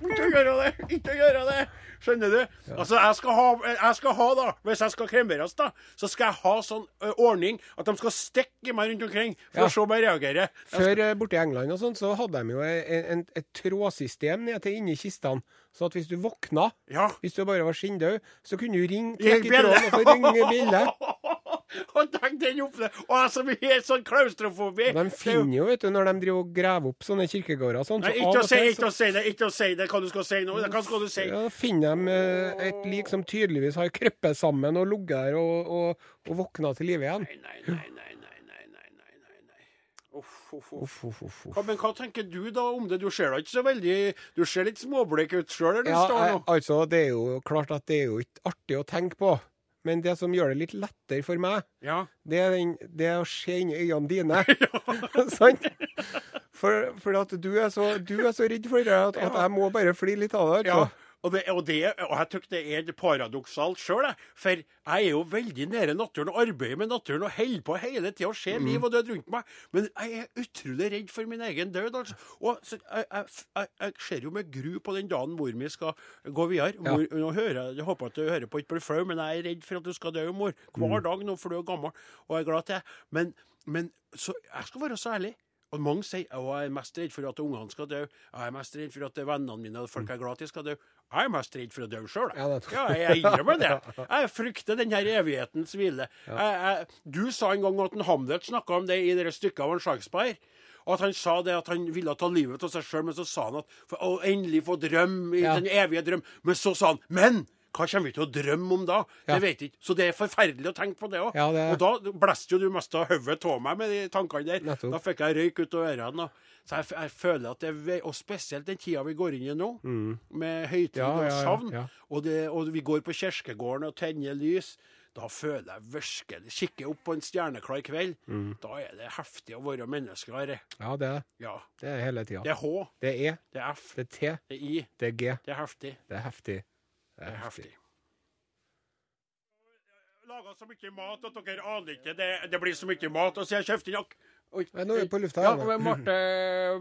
Speaker 2: Ikke gjøre det! Ikke gjøre det! Skjønner du? Altså, jeg skal, ha, jeg skal ha, da, hvis jeg skal kremeres, da, så skal jeg ha sånn ø, ordning at de skal stikke i meg rundt omkring for
Speaker 3: Ja.
Speaker 2: å se om jeg reagerer.
Speaker 3: Før eh, borte i England og sånn, så hadde de jo en, en, et trådsystem ned til inni kistene. Så at hvis du våkna,
Speaker 2: Ja. (laughs)
Speaker 3: hvis du bare var skinndød, så kunne du
Speaker 2: Ring
Speaker 3: ringe trekke i tråden og få
Speaker 2: (laughs)
Speaker 3: ringe bjelle.
Speaker 2: Og tenk den opple... Og jeg som er helt sånn klaustrofobi.
Speaker 3: De finner jo, vet du, når de driver og graver opp sånne kirkegårder og sånn.
Speaker 2: Nei,
Speaker 3: så av
Speaker 2: ikke å
Speaker 3: og
Speaker 2: si,
Speaker 3: til så-
Speaker 2: ikke å si det, ikke å si det, hva du skal si nå. Hva skal du si?
Speaker 3: Ja, da finner de eh, et lik som tydeligvis har krøpet sammen og ligget der og, og, og våkna til live igjen.
Speaker 2: Nei, nei, nei, nei, nei, nei, nei, nei, nei, nei. Uff, uff, uff.
Speaker 3: Uff, uff, uff, uff.
Speaker 2: Hva, men hva tenker du da om det? Du ser da ikke så veldig Du ser litt småblek ut sjøl der du
Speaker 3: Ja,
Speaker 2: står
Speaker 3: jeg,
Speaker 2: nå.
Speaker 3: altså, det er jo klart at det er jo ikke artig å tenke på. Men det som gjør det litt lettere for meg,
Speaker 2: Ja.
Speaker 3: det er, den, det er å se inn i øynene
Speaker 2: (laughs)
Speaker 3: dine. (laughs) Sant? For, for at du er, så, du er så redd for det at, at jeg må bare flire litt av det.
Speaker 2: Ja,
Speaker 3: Altså.
Speaker 2: og, det, og, det, og jeg tror det er paradoksalt sjøl, for jeg er jo veldig nede i naturen og arbeider med naturen og holder på hele tida og ser liv og død rundt meg. Men jeg er utrolig redd for min egen død. Altså. Og så, jeg, jeg, jeg, jeg ser jo med gru på den dagen mor mi skal gå videre. Mor, nå hører jeg, jeg håper at du hører på, ikke blir flau, men jeg er redd for at du skal dø, mor. Hver dag nå, for du er gammel, og jeg er glad til det. Men, men så, jeg skal være så ærlig. Og mange sier at jeg er mest redd for at ungene skal dø, jeg er mest redd for at vennene mine og folk jeg er glad i, skal dø. Jeg er mest redd for å dø sjøl,
Speaker 3: Ja,
Speaker 2: jeg.
Speaker 3: det-
Speaker 2: Ja, jeg innrømmer det.
Speaker 3: (laughs)
Speaker 2: Jeg frykter den her evighetens hvile. Jeg, jeg, du sa en gang at en Hamlet snakka om det i det stykket av en Shakespeare. Og at han sa det at han ville ta livet av seg sjøl, men så sa han at for å endelig få drømme i
Speaker 3: Ja.
Speaker 2: den evige drøm. Men så sa han Men! Hva kommer vi til å drømme om da? Det
Speaker 3: Ja.
Speaker 2: vet jeg ikke. Så det er forferdelig å tenke på det òg.
Speaker 3: Ja, det-
Speaker 2: Og da blåste jo du mest av hodet av meg med de tankene der.
Speaker 3: Nettopp.
Speaker 2: Da fikk jeg røyk ut av ørene. Da. Så jeg, f jeg føler at det er vei, Og spesielt den tida vi går inn i nå, med høytid
Speaker 3: Mm. Ja, ja,
Speaker 2: og
Speaker 3: ja,
Speaker 2: savn,
Speaker 3: ja.
Speaker 2: Og, det, og vi går på kirkegården og tenner lys. Da føler jeg virkelig Kikker opp på en stjerneklar kveld.
Speaker 3: Mm.
Speaker 2: Da er det heftig å være menneske. Are.
Speaker 3: Ja, det,
Speaker 2: Ja.
Speaker 3: det er hele tida.
Speaker 2: Det er H,
Speaker 3: Det er E,
Speaker 2: det er F,
Speaker 3: det er T,
Speaker 2: det er I.
Speaker 3: det er G.
Speaker 2: Det er heftig.
Speaker 3: Det er heftig.
Speaker 2: Det er heftig. Laga så mye mat at dere aner ikke. Det, det blir så mye mat. Og så jeg kjøpte inn ak- Oi.
Speaker 3: Nei, nå er vi på lufta
Speaker 2: Ja,
Speaker 3: her,
Speaker 2: men Marte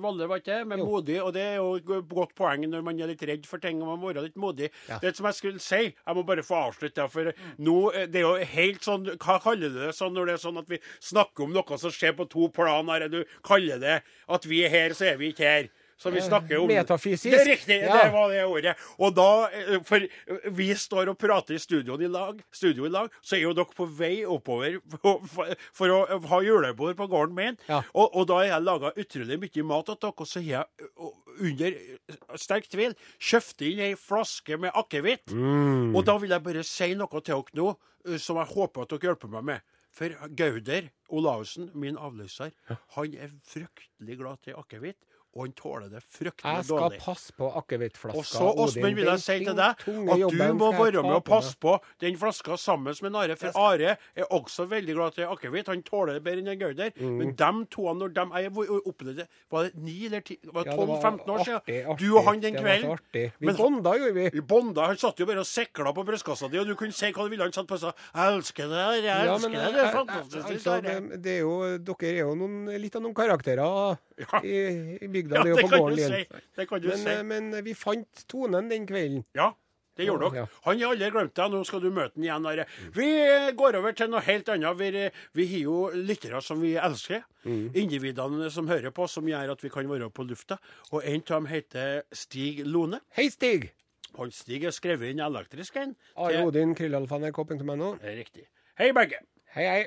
Speaker 2: Valle, var ikke det? Med
Speaker 3: Jo.
Speaker 2: modig. Og det er jo et go- godt poeng når man er litt redd for ting, og man må være litt modig.
Speaker 3: Ja.
Speaker 2: Det som jeg skulle si, jeg må bare få avslutte, det, for nå eh, Det er jo helt sånn Hva kaller du det sånn når det er sånn at vi snakker om noe som skjer på to plan her? Du kaller det at vi er her, så er vi ikke her. Så vi snakker om
Speaker 3: Eh, metafysisk.
Speaker 2: Det er riktig.
Speaker 3: Ja.
Speaker 2: Det var var det ordet. Og da, eh, for vi står og prater i studioen i lag, studio i lag, så er jo dere på vei oppover for, for, for å ha julebord på gården min.
Speaker 3: Ja.
Speaker 2: Og, og da har jeg laga utrolig mye mat til dere, og så har jeg ø, og under eh, sterk tvil kjøpt inn ei flaske med akevitt.
Speaker 3: Mm.
Speaker 2: Og da vil jeg bare si noe til dere nå, ø, som jeg håper at dere hjelper meg med. For Gauder Olaussen, min avløser, han er fryktelig glad til akevitt, og han tåler det fryktelig
Speaker 3: Jeg skal
Speaker 2: dårlig.
Speaker 3: passe på akevittflaska.
Speaker 2: Og så, Åsmund, vil jeg si til deg at du
Speaker 3: Den tunge
Speaker 2: må
Speaker 3: jobben skal jeg
Speaker 2: være med
Speaker 3: ta
Speaker 2: og passe på den flaska sammen med Are, for Are er også veldig glad til akevitt. Han tåler det bedre enn en Gauder.
Speaker 3: Mm.
Speaker 2: Men dem to, når dem jeg hvor- opplevde Var det ni eller ti? Var det
Speaker 3: Ja, det var
Speaker 2: 12-15 år siden?
Speaker 3: artig, artig.
Speaker 2: Du og han den
Speaker 3: Det var
Speaker 2: kvelden.
Speaker 3: så artig. Vi
Speaker 2: Men-
Speaker 3: bonda, gjorde vi.
Speaker 2: Vi bonda. Han satt jo bare og sikla på brystkassa di, og du kunne si hva du ville. Han satt på og sa 'Jeg elsker deg, Are, jeg
Speaker 3: Ja,
Speaker 2: elsker
Speaker 3: men eh,
Speaker 2: deg',
Speaker 3: jeg-
Speaker 2: det er
Speaker 3: jeg-
Speaker 2: fantastisk'.
Speaker 3: altså,
Speaker 2: Are».
Speaker 3: det, det er jo, dere er jo noen, litt av noen karakterer
Speaker 2: Ja.
Speaker 3: i, i bygda,
Speaker 2: Ja,
Speaker 3: det er
Speaker 2: det
Speaker 3: jo på
Speaker 2: kan du
Speaker 3: gården
Speaker 2: si.
Speaker 3: din.
Speaker 2: Det kan du
Speaker 3: Men,
Speaker 2: si.
Speaker 3: eh, men vi fant tonen den kvelden.
Speaker 2: Ja, det gjorde dere.
Speaker 3: Ja.
Speaker 2: Han har aldri glemt deg, nå skal du møte han igjen. Are. Vi eh, går over til noe helt annet. Vi, eh, vi har jo lyttere som vi elsker. Individene som hører på, som gjør at vi kan være på lufta. Og en av dem heter Stig Lone.
Speaker 3: Hei, Stig!
Speaker 2: Han Stig er skrevet inn elektrisk, han.
Speaker 3: Are
Speaker 2: Til-
Speaker 3: Odin, krøllalfa.nrk.no.
Speaker 2: Det er Riktig. Hei, begge.
Speaker 3: Hei, hei.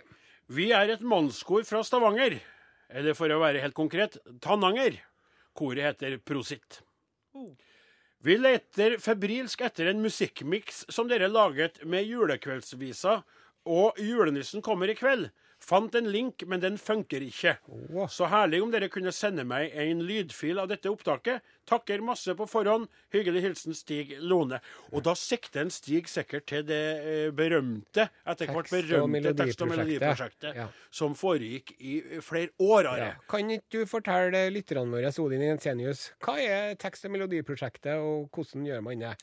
Speaker 2: Vi er et mannskor fra Stavanger. Eller for å være helt konkret, Tananger. Koret heter Prosit. Vi leter febrilsk etter en musikkmiks som dere laget med julekveldsvisa, og julenissen kommer i kveld. Fant en link, men den funker ikke.
Speaker 3: Åh.
Speaker 2: Så herlig om dere kunne sende meg en lydfil av dette opptaket. Takker masse på forhånd. Hyggelig hilsen Stig Lone. Og da sikter en Stig sikkert til det eh, berømte, etter hvert
Speaker 3: Tekst- og
Speaker 2: berømte tekst- og
Speaker 3: melodiprosjektet.
Speaker 2: melodiprosjektet,
Speaker 3: Ja.
Speaker 2: som foregikk i flere år. Are.
Speaker 3: Ja. Kan ikke du fortelle lytterne våre, Odin Jensenius, hva er tekst- og melodiprosjektet, og hvordan gjør man det?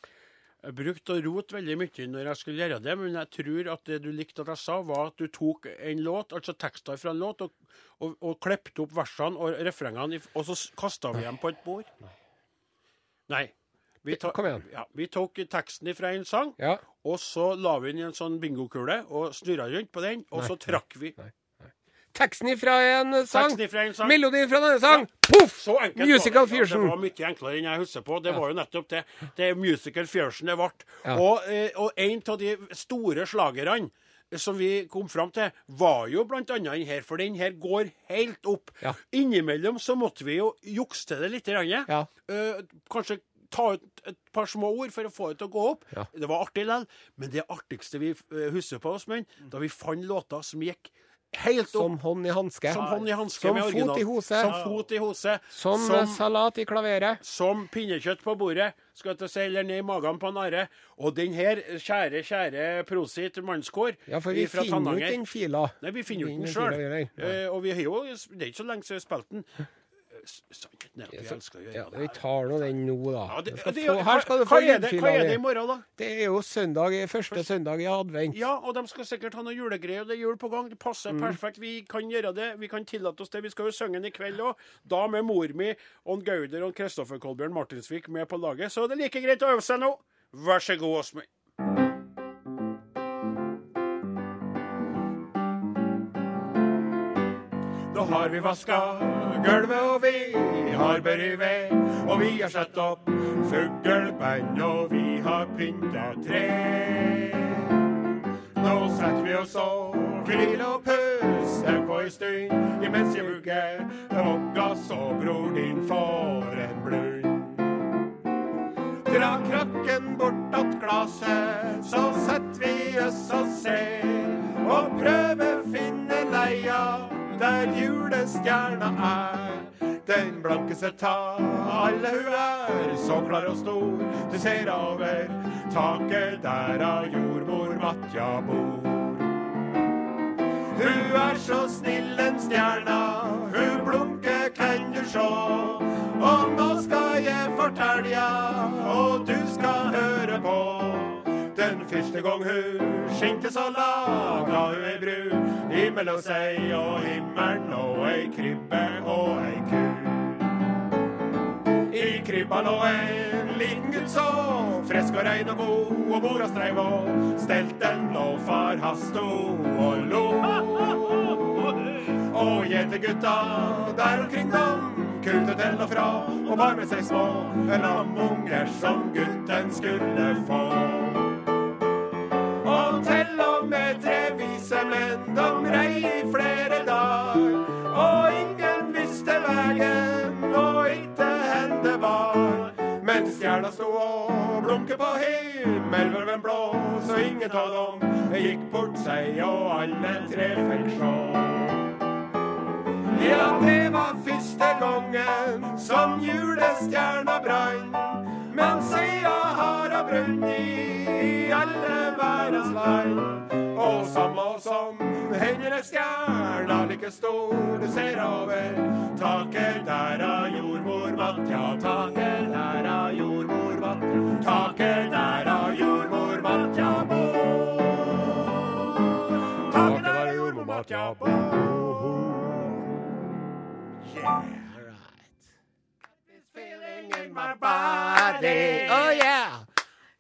Speaker 2: Jeg brukte å rote veldig mye når jeg skulle gjøre det, men jeg tror at det du likte at jeg sa, var at du tok en låt, altså tekster fra en låt, og, og, og klepte opp versene og refrengene, i- og så kasta vi dem på et bord. Nei. Vi, ta,
Speaker 3: Kom igjen.
Speaker 2: ja, vi tok teksten fra en sang,
Speaker 3: Ja.
Speaker 2: og så la vi den i en sånn bingokule og snurra rundt på den, og så trakk vi
Speaker 3: Teksten ifra en sang,
Speaker 2: teksten fra en sang.
Speaker 3: melodien fra en annen sang, poff!
Speaker 2: Så enkelt
Speaker 3: Musical
Speaker 2: var det.
Speaker 3: fusion.
Speaker 2: Ja, det var mye enklere enn jeg husker på. Det var jo nettopp det. Det er musical fusion det ble.
Speaker 3: Ja.
Speaker 2: Og, eh, og en av de store slagerne som vi kom fram til, var jo bl.a. den her, for den her går helt opp.
Speaker 3: Ja.
Speaker 2: Innimellom så måtte vi jo jukse til det litt. Grann,
Speaker 3: Ja.
Speaker 2: Eh, kanskje ta ut et par små ord for å få det til å gå opp.
Speaker 3: Ja.
Speaker 2: Det var artig likevel. Men det artigste vi eh, husker på, Åsmund, da vi fant låter som gikk helt opp
Speaker 3: Som hånd i hanske.
Speaker 2: som hånd i hanske
Speaker 3: Som
Speaker 2: med original.
Speaker 3: fot i hose.
Speaker 2: Som fot i hose.
Speaker 3: Som,
Speaker 2: som,
Speaker 3: salat i klaveret.
Speaker 2: som pinnekjøtt på bordet, skal jeg til å si, eller ned i magen på en are. Og den her, kjære, kjære Prosit mannskår
Speaker 3: Ja, for vi
Speaker 2: fra
Speaker 3: finner jo
Speaker 2: Tananger
Speaker 3: ikke den fila.
Speaker 2: Nei, vi finner jo ikke den
Speaker 3: fila
Speaker 2: sjøl.
Speaker 3: vi gjør. Ja.
Speaker 2: Eh, og vi har jo Det er ikke så lenge siden vi spilte den. Eh, s- Sannheten er at vi elsker å gjøre
Speaker 3: Ja,
Speaker 2: det.
Speaker 3: vi
Speaker 2: her.
Speaker 3: tar nå den nå, da.
Speaker 2: Ja, det,
Speaker 3: Du
Speaker 2: det,
Speaker 3: skal
Speaker 2: det,
Speaker 3: få, her skal du
Speaker 2: hva,
Speaker 3: få
Speaker 2: er det, hva
Speaker 3: lydfila
Speaker 2: er det i
Speaker 3: di.
Speaker 2: morgen, da?
Speaker 3: Det er jo søndag, første søndag i advent.
Speaker 2: Ja, og de skal sikkert ha noe julegreier, og det er jul på gang. Det passer perfekt. Vi kan gjøre det. Vi kan tillate oss det. Vi skal jo synge den i kveld òg. Da med mor mi, og Gauder og Kristoffer Kolbjørn Martinsvik med på laget. Så det er like greit å øve seg nå. Vær så god, Åsmund. Nå har vi vaska gulvet, og vi har børi ved. Og vi har satt opp fugleband, og vi har pynta tre. Nå setter vi oss og grill og puster på ei stund, imens jeg vugger hogga så bror din får en blund. Dra krakken bort att glaset, så setter vi oss og ser. Og prøver finne leia der julestjerna er. Den blankeste ta alle hun er, så klar og stor. Du ser over taket der av jordmor Matja bor. Hun er så snill en stjerna, hun blunker kan du sjå. Og nå skal jeg fortelle ja, og du skal høre på. Den første gang hun skinte så laga hun ei bru imellom seg og himmelen og ei krybbe og ei ku. I krybba lå en liten gutt så frisk og rein og god, og mora streiv og stelte den, og far han sto og lo. Og gjetergutta der omkring dem kunne til og fra, og bar med seg små lamunger som gutten skulle få. Og til og med tre vise menn, de rei i flere dager. Og ingen visste veien, og ikke hen det var. Men stjerna sto og blunket på himmelhvelven blå, så ingen av dem gikk bort seg, og alle tre fikk sjå. Ja, det var første gangen som julestjerna brann. Men sia har hun brunnet i alle verdens land. Og samme som hender er stjerna like stor, du ser over taket der av jordmor Matja. Taket der av jordmor Matja. Taket der av jordmor Matja bor. Taket der av jordmor Matja bor. Yeah.
Speaker 3: in my body. Oh yeah.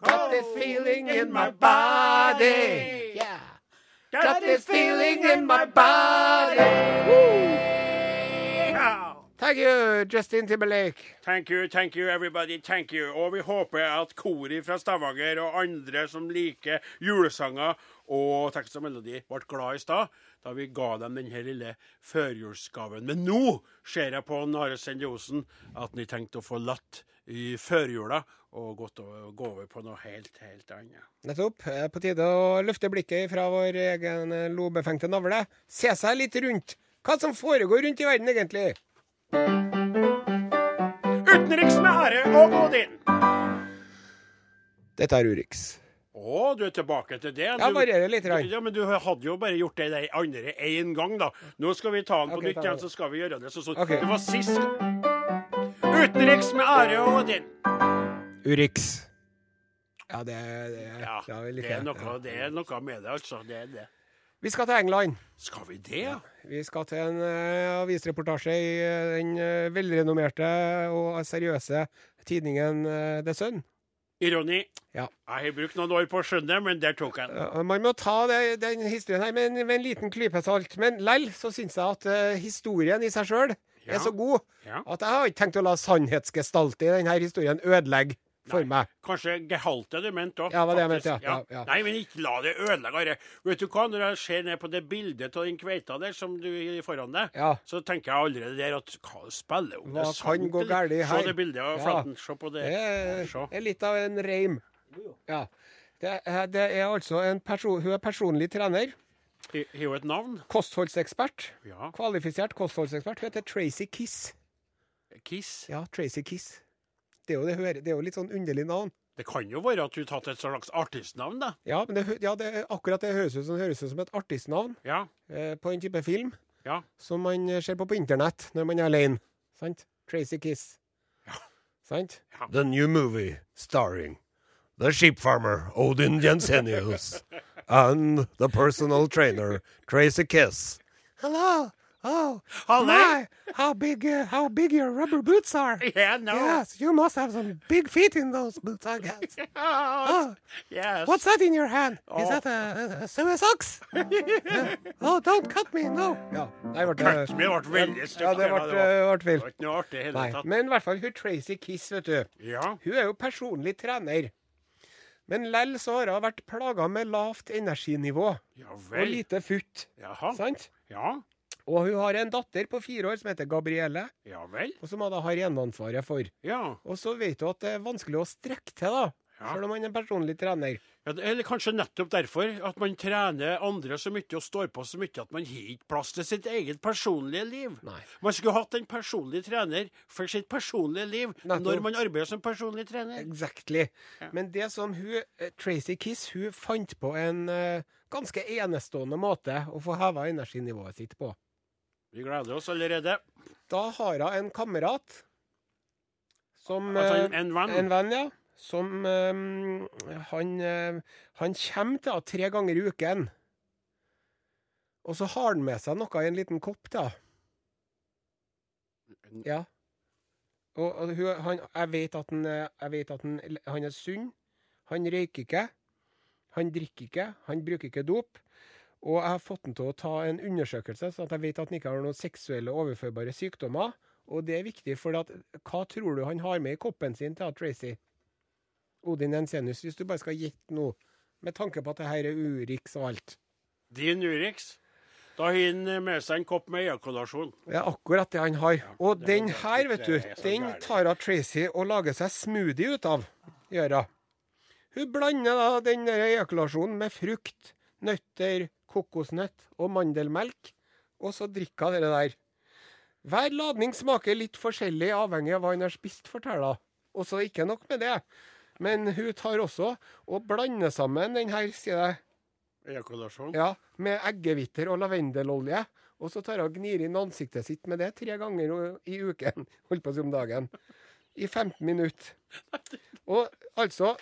Speaker 3: Got this feeling in my body. Yeah. Got this feeling in my body.
Speaker 2: Ja.
Speaker 3: Thank you, Justin Timberlake.
Speaker 2: Thank you, thank you, everybody, thank you. Og vi håper at koret fra Stavanger og andre som liker julesanger og tekst og melodi, ble glad i stad da vi ga dem denne lille førjulsgaven. Men nå ser jeg på Are Sende Osen at han tenkte å forlate i førjula og gått over, gå over på noe helt, helt annet.
Speaker 3: Nettopp. Eh, På tide å løfte blikket fra vår egen eh, lobefengte navle. Se seg litt rundt. Hva som foregår rundt i verden, egentlig?
Speaker 2: Utenriks med Are og Odin.
Speaker 3: Dette er Urix.
Speaker 2: Å, du er tilbake til det?
Speaker 3: Ja,
Speaker 2: Du-
Speaker 3: varierer litt, Rai.
Speaker 2: Ja, men du hadde jo bare gjort det der andre én gang, da. Nå skal vi ta den på
Speaker 3: Ok,
Speaker 2: nytt
Speaker 3: ta
Speaker 2: igjen,
Speaker 3: den.
Speaker 2: så skal vi gjøre det sånn. som-
Speaker 3: Ok.
Speaker 2: Det var sist Utenriks med Are og Odin.
Speaker 3: Urix. Ja, det, det,
Speaker 2: Ja,
Speaker 3: ja, vi
Speaker 2: det
Speaker 3: liker
Speaker 2: er
Speaker 3: det.
Speaker 2: noe, det er noe med det, altså. Det er det.
Speaker 3: Vi skal til England.
Speaker 2: Skal vi det, ja?
Speaker 3: Vi skal til en eh, avisreportasje i eh, den eh, velrenommerte og eh, seriøse tidningen eh, The Sun.
Speaker 2: Ironi.
Speaker 3: Ja.
Speaker 2: Jeg har brukt noen år på å skjønne, men der tok jeg den.
Speaker 3: Eh, Man må ta det, den historien her med en, med en liten klype salt. Men lell så syns jeg at eh, historien i seg sjøl
Speaker 2: Ja.
Speaker 3: er så god
Speaker 2: Ja.
Speaker 3: at jeg har ikke tenkt å la sannhetsgestaltet i denne historien ødelegge for meg.
Speaker 2: Kanskje gehalte du mente òg.
Speaker 3: Ja, det var det jeg mente, ja. Ja, ja.
Speaker 2: Nei, men ikke la det ødelegge. Are. Vet du hva, når jeg ser ned på det bildet av den kveita der som du har foran deg,
Speaker 3: Ja.
Speaker 2: så tenker jeg allerede der at hva det spiller om
Speaker 3: Hva
Speaker 2: det er
Speaker 3: kan
Speaker 2: sant
Speaker 3: gå
Speaker 2: eller-
Speaker 3: galt i
Speaker 2: Se
Speaker 3: her?
Speaker 2: det bildet av
Speaker 3: Ja.
Speaker 2: flaten. Se på det.
Speaker 3: Det er-
Speaker 2: Se.
Speaker 3: er litt av en reim. Ja. Det, er- det er altså en person Hun er personlig trener.
Speaker 2: Har har jo et navn.
Speaker 3: Kostholdsekspert.
Speaker 2: Ja.
Speaker 3: Kvalifisert kostholdsekspert. Hun heter Tracy Kiss.
Speaker 2: Kiss.
Speaker 3: Ja, Tracy Kiss. Det er jo, det, hun er- det er jo litt sånn underlig navn.
Speaker 2: Det kan jo være at du har tatt et slags artistnavn, da.
Speaker 3: Ja, men det, hø- ja, det, er akkurat det høres ut som, høres ut som et artistnavn
Speaker 2: Ja.
Speaker 3: eh, på en type film
Speaker 2: Ja.
Speaker 3: som man eh, ser på på internett når man er alene. Sant? Tracy Kiss. Sant?
Speaker 1: The new movie starring the sheep farmer Odin Jensenius and the personal trainer Tracy Kiss.
Speaker 3: Hello. Oh,
Speaker 2: Hello.
Speaker 3: my! How big? Uh, how big your rubber boots are?
Speaker 2: Yeah, no.
Speaker 3: Yes, you must have some big feet in those boots, I
Speaker 2: (laughs)
Speaker 3: guess.
Speaker 2: Oh,
Speaker 3: Oh,
Speaker 2: yes.
Speaker 3: what's that in your hand? Is
Speaker 2: Oh.
Speaker 3: that a, a, a
Speaker 2: (laughs)
Speaker 3: sewer socks? Yeah. Oh, don't cut me, no. Ja, nei, ble,
Speaker 2: Cut me ble veldig stygt.
Speaker 3: Ja, det ble,
Speaker 2: var-
Speaker 3: ble
Speaker 2: det
Speaker 3: feil.
Speaker 2: var ikke noe artig i
Speaker 3: Nei,
Speaker 2: hele tatt.
Speaker 3: men i hvert fall hun Tracy Kiss, vet du.
Speaker 2: Ja.
Speaker 3: Hun er jo personlig trener. Men lell så har hun vært plaga med lavt energinivå
Speaker 2: Ja
Speaker 3: og
Speaker 2: vel.
Speaker 3: lite futt.
Speaker 2: Jaha.
Speaker 3: Sant?
Speaker 2: Ja.
Speaker 3: Og hun har en datter på fire år som heter Gabrielle,
Speaker 2: Ja vel.
Speaker 3: og som hun da har eneansvaret for.
Speaker 2: Ja.
Speaker 3: Og så vet hun at det er vanskelig å strekke til, da.
Speaker 2: Ja.
Speaker 3: Selv om han er personlig trener.
Speaker 2: Ja, det- eller kanskje nettopp derfor at man trener andre så mye og står på så mye at man har ikke plass til sitt eget personlige liv.
Speaker 3: Nei.
Speaker 2: Man skulle hatt en personlig trener for sitt personlige liv
Speaker 3: Nettopp.
Speaker 2: når man arbeider som personlig trener.
Speaker 3: Exactly. Men det som hun, eh, Tracy Kiss hun fant på en eh, ganske enestående måte å få heva energinivået sitt på.
Speaker 2: Vi gleder oss allerede.
Speaker 3: Da har hun en kamerat som
Speaker 2: Altså en,
Speaker 3: eh,
Speaker 2: en venn.
Speaker 3: En venn, ja. Som eh, han, eh, han kommer til henne tre ganger i uken. Og så har han med seg noe i en liten kopp, da. Ja. Og, og hun, han, jeg vet at, han, eh, jeg vet at han, han er sunn. Han røyker ikke. Han drikker ikke. Han bruker ikke dop. Og jeg har fått han til å ta en undersøkelse, så at jeg vet at han ikke har noen seksuelle overførbare sykdommer. Og det er viktig, for at, hva tror du han har med i koppen sin til Tracy? Odin Jensenius, hvis du bare skal gjette nå, med tanke på at det her er Urix og alt.
Speaker 2: Din Urix. Da har han med seg en kopp med ejakulasjon.
Speaker 3: Det er akkurat det han har. Og
Speaker 2: det er
Speaker 3: den
Speaker 2: jo
Speaker 3: her,
Speaker 2: det
Speaker 3: vet du,
Speaker 2: er så
Speaker 3: den
Speaker 2: gærent.
Speaker 3: tar av Tracy og lager seg smoothie ut av. Gjør hun. Hun blander da den der ejakulasjonen med frukt, nøtter, kokosnøtt og mandelmelk, og så drikker hun det der. Hver ladning smaker litt forskjellig avhengig av hva han har spist, forteller hun. Og så ikke nok med det. Men hun tar også og blander sammen den her, sier jeg,
Speaker 2: Ejakulasjon.
Speaker 3: ja, med eggehviter og lavendelolje. Og så tar hun og gnir inn ansiktet sitt med det tre ganger o- i uken. (laughs) Holdt på å si om dagen. I 15 minutter. Og altså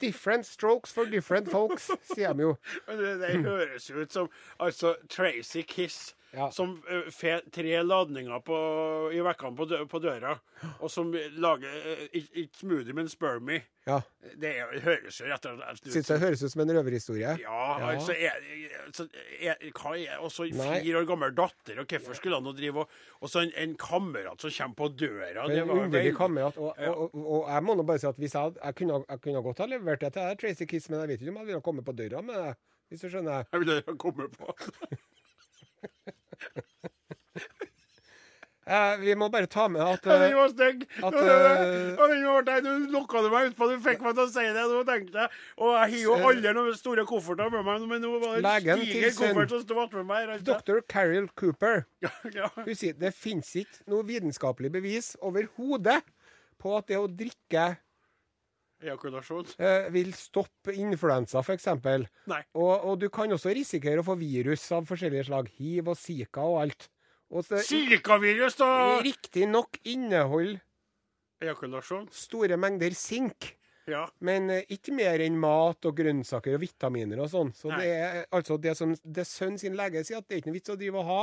Speaker 3: Different strokes for different folks, sier de jo.
Speaker 2: Men Det, det høres jo ut som altså, Tracy Kiss
Speaker 3: Ja.
Speaker 2: som eh, får tre ladninger på, i vekkene på, dø på døra, og som lager eh, ikke- ikke smoothie, men spermie.
Speaker 3: Ja.
Speaker 2: Det er, høres jo rett og slett ut
Speaker 3: Syns det høres ut som en røverhistorie.
Speaker 2: ja,
Speaker 3: Ja.
Speaker 2: altså er, så er, hva er, også en
Speaker 3: Nei.
Speaker 2: fire år gammel datter, og hvorfor skulle han nå drive og Og så en, en kamerat som kommer på døra
Speaker 3: Men
Speaker 2: det var
Speaker 3: underlig
Speaker 2: veldig-
Speaker 3: kamerat. Og, og, og, og jeg må nå bare si at hvis jeg, hadde- jeg, kunne, ha- jeg kunne ha godt ha levert det til deg, Tracy Kiss, men jeg vet ikke om jeg ville ha kommet på døra med det. Hvis du skjønner?
Speaker 2: Jeg ville ha kommet på.
Speaker 3: Eh, vi må bare ta med at
Speaker 2: Ja, Den
Speaker 3: eh,
Speaker 2: var stygg!
Speaker 3: at,
Speaker 2: Og den
Speaker 3: eh,
Speaker 2: var stygg. Du lokka du meg utpå, du fikk meg til å si det. Nå tenkte jeg, Og jeg har jo
Speaker 3: Eh,
Speaker 2: aldri noen store kofferter med meg, men nå var det
Speaker 3: Legen
Speaker 2: en
Speaker 3: til
Speaker 2: stiger
Speaker 3: sin-
Speaker 2: koffert som sto attmed meg. rett og slett.
Speaker 3: Dr. eh, Carol Cooper
Speaker 2: (laughs) Ja,
Speaker 3: hun sier det fins ikke noe vitenskapelig bevis overhodet på at det å drikke
Speaker 2: ja. Ejakulasjon?
Speaker 3: eh, vil stoppe influensa, f.eks.
Speaker 2: Nei.
Speaker 3: Og, og du kan også risikere å få virus av forskjellige slag. Hiv og zika og alt. Og så,
Speaker 2: Silkavirus og
Speaker 3: Riktignok inneholder
Speaker 2: Ejakulasjon?
Speaker 3: store mengder sink.
Speaker 2: Ja.
Speaker 3: Men eh, ikke mer enn mat og grønnsaker og vitaminer og sånn. Så
Speaker 2: Nei.
Speaker 3: det er altså det som det sønn sin lege sier, at det er ikke noe vits å drive og ha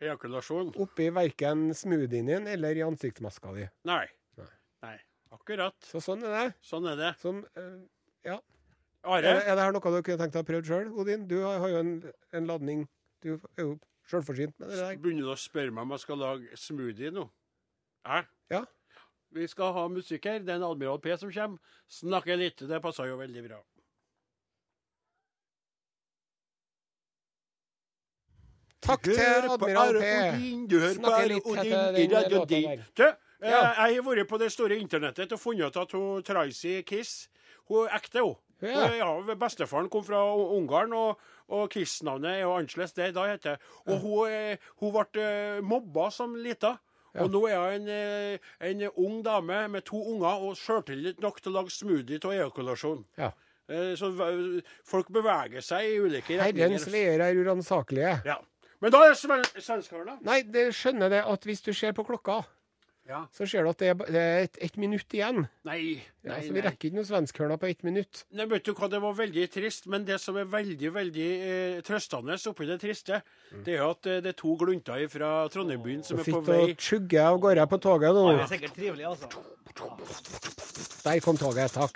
Speaker 2: Ejakulasjon?
Speaker 3: oppi verken smoothien din eller i ansiktsmaska di.
Speaker 2: Nei.
Speaker 3: Nei.
Speaker 2: Nei. Akkurat.
Speaker 3: Så sånn er det.
Speaker 2: Sånn er det.
Speaker 3: Som, eh,
Speaker 2: Are?
Speaker 3: er, det- er det her noe du kunne tenkt deg å prøve sjøl, Odin? Du har, har jo en, en ladning. Du er jo sjølforsynt med det der.
Speaker 2: Begynner du å spørre meg om jeg skal lage smoothie nå? Hæ?
Speaker 3: Ja.
Speaker 2: Vi skal ha musikk her. Det er en Admiral P som kommer. Snakke litt. Det passer jo veldig bra.
Speaker 3: Takk
Speaker 2: Du hører
Speaker 3: til
Speaker 2: på
Speaker 3: Admiral
Speaker 2: Are
Speaker 3: P.
Speaker 2: Odin, du hører på
Speaker 3: Snakker
Speaker 2: Are
Speaker 3: litt
Speaker 2: Odin
Speaker 3: etter
Speaker 2: i
Speaker 3: den
Speaker 2: Radio
Speaker 3: låta
Speaker 2: Din.
Speaker 3: der.
Speaker 2: Du, eh,
Speaker 3: Ja.
Speaker 2: jeg har vært på det store internettet og funnet ut at hun Tracy Kiss Hun er ekte, hun.
Speaker 3: Ja.
Speaker 2: Hun er- ja, bestefaren kom fra U- Ungarn, og, og Kiss-navnet er jo annerledes det da heter. Og hun, eh, hun ble eh, mobba som lita. Og nå er hun en, eh, en ung dame med to unger og sjøltillit nok til å lage smoothie av ejakulasjon.
Speaker 3: Ja.
Speaker 2: Eh, Så v- folk beveger seg i ulike
Speaker 3: Herrens
Speaker 2: retninger.
Speaker 3: veier er uransakelige.
Speaker 2: Ja. Men da er sven svenskene, da.
Speaker 3: Nei, det skjønner det at hvis du ser på klokka,
Speaker 2: Ja.
Speaker 3: så ser du at det er, ba- det er et, et minutt igjen.
Speaker 2: Nei.
Speaker 3: Ja,
Speaker 2: nei,
Speaker 3: så vi
Speaker 2: nei.
Speaker 3: rekker ikke noen svenskhørner på ett minutt.
Speaker 2: Nei, vet du hva, Det var veldig trist, men det som er veldig veldig eh, trøstende oppi det triste,
Speaker 3: Mm.
Speaker 2: det er at eh, det er to glunter fra Trondheimbyen som
Speaker 3: Så
Speaker 2: er på
Speaker 3: sitter
Speaker 2: vei
Speaker 3: og chugger av gårde på toget nå.
Speaker 4: Det er sikkert trivelig, altså.
Speaker 3: Der kom toget, takk.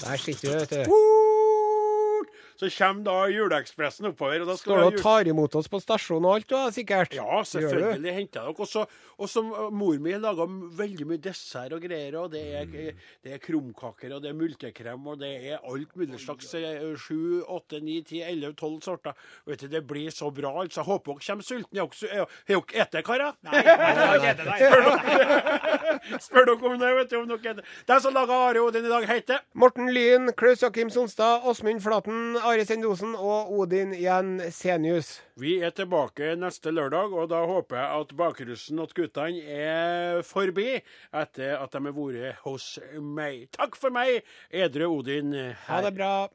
Speaker 3: Der sitter du, vet du.
Speaker 2: Bort! Så kommer da juleekspressen oppover. og da skal
Speaker 3: Står
Speaker 2: vi ha
Speaker 3: og
Speaker 2: jul...
Speaker 3: tar imot oss på stasjonen og alt, du, da, sikkert.
Speaker 2: Ja,
Speaker 3: Gjør du?
Speaker 2: selvfølgelig henter jeg dere. Og så- Og som eh, mor mi laga veldig mye dessert og greier. og Det
Speaker 3: Mm.
Speaker 2: er, det er krumkaker, og det er multekrem, og det er alt mulig slags. eh, Sju, åtte, ni, ti, elleve, tolv sorter. Vet du, Det blir så bra. altså. Jeg håper dere kommer sultne. Har dere har dere spist, karer?
Speaker 4: Nei, nei, det var ikke det, nei.
Speaker 2: Spør dere om det, vet du. om dere De som laga Are Odin i dag, heter
Speaker 3: Morten Lyn, Klaus Jakim Sonstad, Åsmund Flaten, Are Sendosen og Odin Jen Senius.
Speaker 2: Vi er tilbake neste lørdag, og da håper jeg at bakrussen og guttene er forbi etter at de har vært hos meg. Takk for meg, edre Odin.
Speaker 3: Ha det bra.